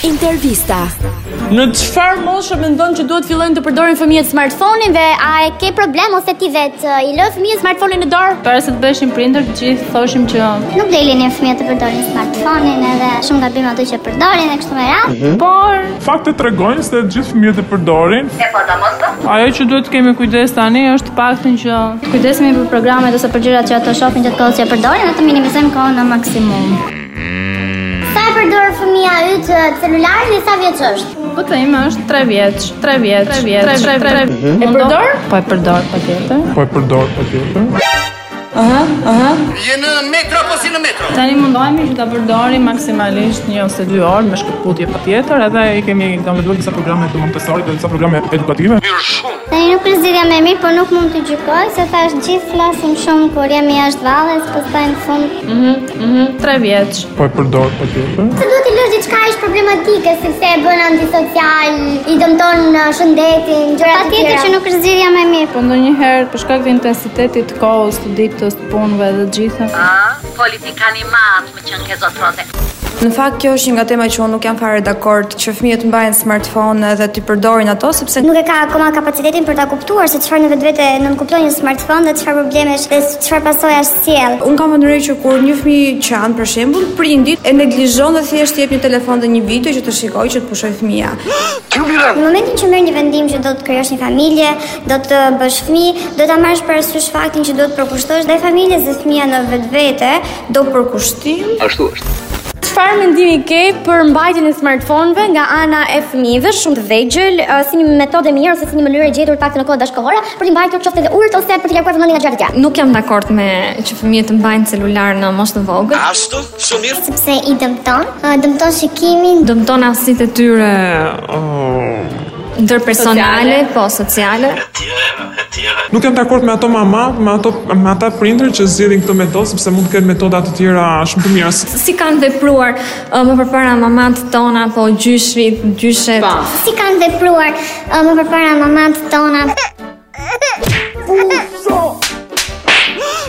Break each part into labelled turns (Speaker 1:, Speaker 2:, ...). Speaker 1: Intervista.
Speaker 2: Në çfarë moshë mendon që duhet fillojnë të përdorin fëmijët smartphone-in dhe
Speaker 3: A e ke problem ose ti vetë uh, i lë fëmijës smartphone-in në dorë?
Speaker 4: Para se të bëheshim prindër, të gjithë thoshim që
Speaker 3: Nuk do i lini fëmijët të përdorin smartphone-in edhe shumë gabim ato që përdorin e kështu me radhë.
Speaker 4: por
Speaker 5: Faktet tregojnë se gjithë fëmijët e përdorin.
Speaker 4: ajo që duhet të kemi kujdes tani është të paktën që
Speaker 3: Kujdesemi për programet ose për gjërat që ato shohin gjatë kohës që e përdorin dhe të minimizojmë kohën në maksimum. Sa e përdor fëmia yt uh, celularin dhe sa vjeç është?
Speaker 4: bota ime Po është 3 vjeç, 3 vjeç, 3 vjeç, 3 vjeç. E përdor? Po e përdor patjetër.
Speaker 5: Po e përdor patjetër.
Speaker 6: Je në metro apo si në metro?
Speaker 4: Tani mundohemi që ta përdorim maksimalisht 1 ose 2 orë me shkëputje patjetër, edhe i kemi
Speaker 5: Duhet disa programe të Montessori dhe disa programe edukative.
Speaker 6: Mirë shumë.
Speaker 3: Tani nuk përzidia më mirë, por nuk mund të gjykoj se thash gjithë flasim shumë kur jemi jashtë valles, pastaj në fund.
Speaker 4: 3 vjeç.
Speaker 5: Po e përdor patjetër.
Speaker 3: Se duhet i lësh diçka ish problematike sepse e bën antisocial, i dëmton uh, shëndetin, gjëra të tjera. Patjetër që nuk është zgjidhja më e mirë.
Speaker 4: Po ndonjëherë për shkak të intensitetit të kohës, të ditës, të punëve dhe të gjitha.
Speaker 7: politikani matë me qënë ke zotrote.
Speaker 8: Në fakt kjo është një nga tema që unë nuk jam fare dakord që fëmijët mbajnë smartphone dhe ti përdorin ato sepse
Speaker 3: nuk e ka akoma kapacitetin për ta kuptuar se çfarë në vetvete nën kupton një smartphone dhe çfarë problemesh dhe çfarë pasojash sjell.
Speaker 8: Unë kam vëndërej që kur një fëmijë që anë për shembull prindit e neglizhon dhe thjesht i jep një telefon dhe një video që të shikoj që të pushoj fëmia.
Speaker 3: Në momentin që merr një vendim që do të krijosh një familje, do të bësh fëmijë, do ta marrësh parasysh faktin që do të përkushtosh dhe familjes dhe fëmia në vetvete do përkushtim.
Speaker 6: Ashtu është.
Speaker 2: çfarë mendimi ke për mbajtjen e smartphone-ve nga ana e fëmijëve shumë të vegjël, ë, si një metodë e mirë ose si një mënyrë e gjetur pak në kohë bashkëkohore për të mbajtur qoftë edhe urt ose për të larguar vëmendjen nga gjëra të tjera.
Speaker 9: Nuk jam dakord me që fëmijët të mbajnë celular në moshë të vogël.
Speaker 6: Ashtu, shumë mirë.
Speaker 3: sepse i dëmton, ë, dëmton shikimin,
Speaker 9: Dëmton aftësitë e tyre oh, ndërpersonale, po sociale.
Speaker 5: Nuk jam dakord me ato mama, me ato me ata prindër që zgjidhin këtë metodë sepse mund të kenë metoda të tjera shumë të mira.
Speaker 9: Si kanë vepruar ë, më përpara mamat tona, po gjyshrit, gjyshet.
Speaker 3: si kanë vepruar ë, më përpara mamat tona,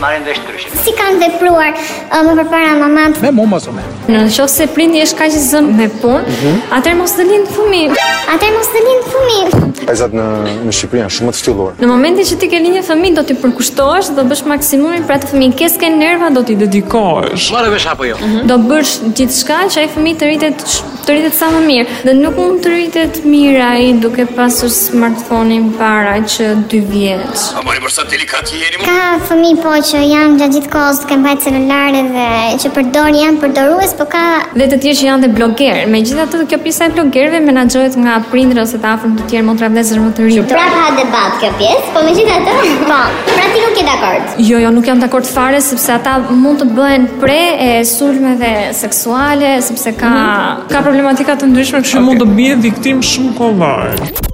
Speaker 6: Marrin vesh kryshim.
Speaker 3: si kanë vepruar ë, më përpara mamat
Speaker 9: Në qoftë se prindi është kaq i zënë me punë, atëherë mos të lind fëmijë.
Speaker 3: Atë mos të lind fëmijë.
Speaker 10: Vajzat në në Shqipëri janë shumë të ftyllur.
Speaker 9: Në momentin që ti ke linjë fëmijë, do t'i përkushtohesh, do bësh maksimumin për atë fëmijë. Kes ke nerva, do t'i dedikohesh.
Speaker 6: Marrin vesh apo jo?
Speaker 9: Do bësh gjithçka që ai fëmijë të rritet të rritet sa më mirë. Dhe nuk mund të rritet mirë ai duke pasur smartphone-in para që 2 vjeç.
Speaker 6: A mori përsa delikat jeni mu?
Speaker 3: Ka fëmijë po që janë gjatë gjithë kohës duke mbajtur celulare dhe që përdorin janë përdorues, po ka
Speaker 9: Dhe të tjerë që janë dhe blogerë. Megjithatë kjo pjesa e blogerëve menaxhohet nga prindër ose të afërm të tjerë motra vëllezër më të rinj.
Speaker 3: prap ha debat kjo pjesë, po megjithatë, po, pra ti nuk je dakord.
Speaker 9: Jo, jo, nuk jam dakord fare sepse ata mund të bëhen pre e sulmeve seksuale, sepse ka ka problematika të ndryshme,
Speaker 5: Që mund të bie viktim shumë kollaj.